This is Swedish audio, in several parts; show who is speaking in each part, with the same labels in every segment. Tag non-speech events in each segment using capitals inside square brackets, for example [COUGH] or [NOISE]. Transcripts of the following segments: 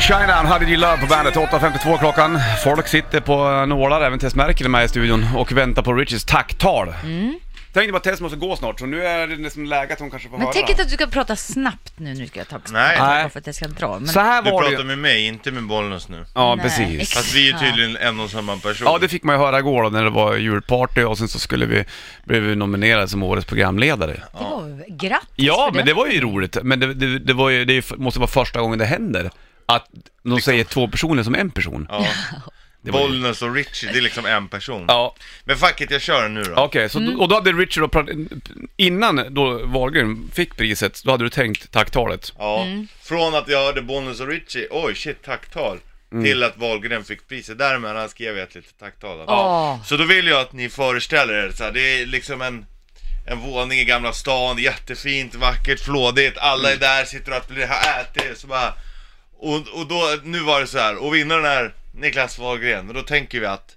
Speaker 1: Shine Down, How Did You Love på bandet. 8.52 klockan. Folk sitter på eh, nålar, även Tess Merkel är med i studion och väntar på Richies tacktal.
Speaker 2: Mm.
Speaker 1: Tänk dig bara Tess måste gå snart, så nu är det nästan läge att hon kanske får
Speaker 2: Men
Speaker 1: höra.
Speaker 2: tänk inte att du ska prata snabbt nu, nu ska jag ta på
Speaker 3: Nej.
Speaker 1: Nej.
Speaker 2: för att jag ska dra. Men...
Speaker 1: Så här
Speaker 3: Du
Speaker 1: var det
Speaker 3: pratar
Speaker 1: ju.
Speaker 3: med mig, inte med Bollnäs nu.
Speaker 1: Ja,
Speaker 2: Nej.
Speaker 1: precis.
Speaker 2: Exakt.
Speaker 3: Fast vi är tydligen en och samma person.
Speaker 1: Ja, det fick man ju höra igår då, när det var julparty och sen så skulle vi, blev vi nominerade som årets programledare.
Speaker 2: Det var ju... Grattis
Speaker 1: Ja,
Speaker 2: för
Speaker 1: men det var ju roligt. Men det, det, det, var ju, det är ju- måste vara första gången det händer att de säger två personer som en person. [LAUGHS]
Speaker 3: Ja.
Speaker 1: var ju-
Speaker 3: Bollnäs och Richie, det är liksom en person.
Speaker 1: Ja,
Speaker 3: Men fuck it, jag kör den nu då.
Speaker 1: okej. så,
Speaker 2: Mm.
Speaker 1: Och då hade Richard, och, pra- innan då Wahlgren fick priset, då hade du tänkt tacktalet.
Speaker 3: Ja.
Speaker 2: Mm.
Speaker 3: Från att jag hörde Bollnäs och Richie, oj shit, tacktal. Till att Wahlgren fick priset, däremellan skrev jag ett litet tacktal.
Speaker 2: Åh.
Speaker 3: Så då vill jag att ni föreställer er så här, det är liksom en, en våning i Gamla stan, jättefint, vackert, flådigt, alla är där, sitter och applåderar, har ätit, så bara... Och, och då, nu var det så här, och vinnaren är Niklas Wahlgren, och då tänker vi att...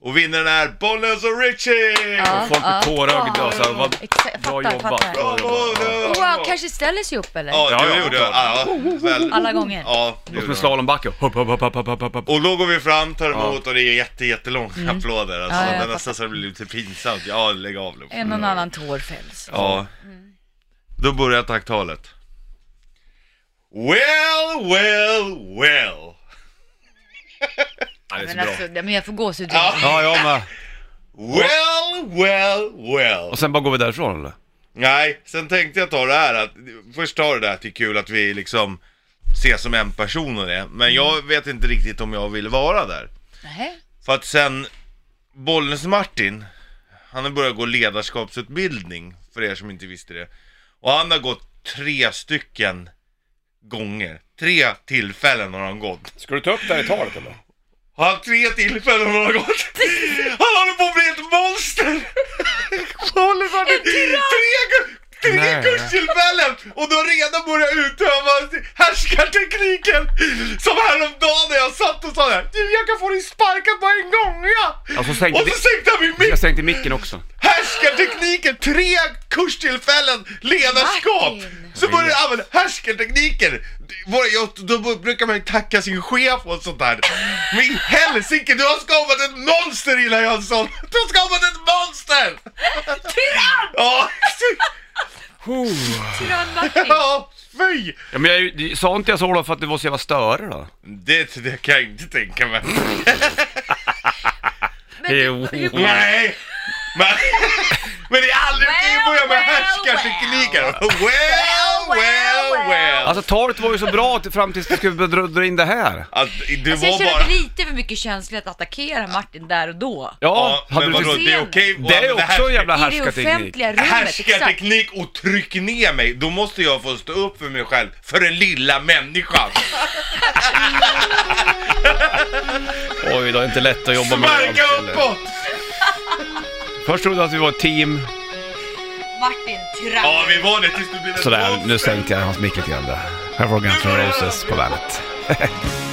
Speaker 3: Och vinnaren är Bollnäs och Richie!
Speaker 2: Ja,
Speaker 1: Folk blir
Speaker 2: ja.
Speaker 1: tårögda och så här, vad-
Speaker 2: Ah, Exakt,
Speaker 1: bra
Speaker 2: jag fattar,
Speaker 1: jobbat.
Speaker 2: fattar.
Speaker 1: Bra.
Speaker 3: Bravo! Bravo!
Speaker 2: Wow, kanske ställer sig upp eller?
Speaker 3: Ja,
Speaker 1: Ja,
Speaker 3: det
Speaker 1: ja,
Speaker 3: gjorde jag.
Speaker 1: klart.
Speaker 3: Ja, väl.
Speaker 2: Alla gånger.
Speaker 3: Ja, det
Speaker 1: Och
Speaker 3: gjorde
Speaker 1: med
Speaker 3: jag.
Speaker 1: slalombacke, hopp, hopp, hopp, hopp, hopp, hopp, hopp.
Speaker 3: Och då går vi fram, tar emot och det är jätte, jättelånga applåder. Alltså,
Speaker 2: Mm. Ja, jag
Speaker 3: det är
Speaker 2: fattar.
Speaker 3: nästan så det blir lite pinsamt. Ja, lägg av nu.
Speaker 1: Mm.
Speaker 2: En och annan tår fälls.
Speaker 3: Ja. Då börjar tacktalet. Well, well, well.
Speaker 1: Ja, det är så
Speaker 2: Men,
Speaker 1: bra.
Speaker 2: alltså, men jag får gåshud.
Speaker 3: Ja.
Speaker 1: Ja, jag med.
Speaker 3: Well, well, well.
Speaker 1: Och sen bara går vi därifrån eller?
Speaker 3: Nej, sen tänkte jag ta det här att, först ta det där att det är kul att vi liksom ses som en person och det. Men jag vet inte riktigt om jag vill vara där.
Speaker 2: Nej.
Speaker 3: För att sen Bollnäs-Martin, han har börjat gå ledarskapsutbildning, för er som inte visste det. Och han har gått tre stycken gånger. Tre tillfällen har han gått.
Speaker 1: Ska du ta upp det här i talet eller?
Speaker 3: Han tre tillfällen har han gått. Han håller på att bli ett monster! Bollnäs-Martin, tre, gu-
Speaker 1: Nej.
Speaker 3: tre kurstillfällen! Och du har redan börjat utöva härskartekniken! Som häromdagen när jag satt och sa det här, "Du, jag kan få dig sparkad på en gång ja!
Speaker 1: Alltså, sänk,
Speaker 3: Och så sänkte han min
Speaker 1: jag
Speaker 3: mick!
Speaker 1: sänkte micken också.
Speaker 3: Härskartekniken! Tre kurstillfällen ledarskap!
Speaker 2: Martin.
Speaker 3: Så började jag använda härskartekniker! Våra- jag- Då brukar man ju tacka sin chef och sånt där. Men i helsike, du har skapat ett monster Illa Jönsson! Du har skapat ett monster!
Speaker 2: Tyrann!
Speaker 3: Ja,
Speaker 2: Tyrann Martin.
Speaker 3: ja fy!
Speaker 1: Ja, men jag sa inte jag så då för att det var så jävla störe då?
Speaker 3: Det, det kan jag inte tänka mig.
Speaker 2: Men du-
Speaker 1: Jo.
Speaker 2: hur-
Speaker 3: Nej! Men, men det är aldrig well,
Speaker 2: Well,
Speaker 3: börja med
Speaker 2: well,
Speaker 3: härskartekniker! Well, well, well!
Speaker 1: Alltså talet var ju så bra att- fram tills du skulle dra, dra in det här.
Speaker 3: Att, du
Speaker 2: Alltså, jag
Speaker 3: var
Speaker 2: känner
Speaker 3: bara...
Speaker 2: att lite för mycket känsla att attackera Martin där och då.
Speaker 1: Ja,
Speaker 3: Ja, men
Speaker 1: hade
Speaker 3: vadå,
Speaker 1: du
Speaker 2: precis-
Speaker 3: det är okej
Speaker 1: det är också en jävla
Speaker 2: I det
Speaker 1: härskarteknik.
Speaker 2: offentliga rummet, exakt.
Speaker 3: Härskarteknik och tryck ner mig, då måste jag få stå upp för mig själv, för den lilla människan.
Speaker 1: Oj, det är inte lätt att jobba med
Speaker 3: Sparka
Speaker 1: allt, eller?
Speaker 3: uppåt!
Speaker 1: Först trodde jag att vi var ett team.
Speaker 2: Martin, tyrann.
Speaker 3: Ja, vi var det tills du blev ett
Speaker 1: Sådär, nu
Speaker 3: monster.
Speaker 1: sänkte jag hans mick lite grann där. Här får Guns N' Roses på bandet.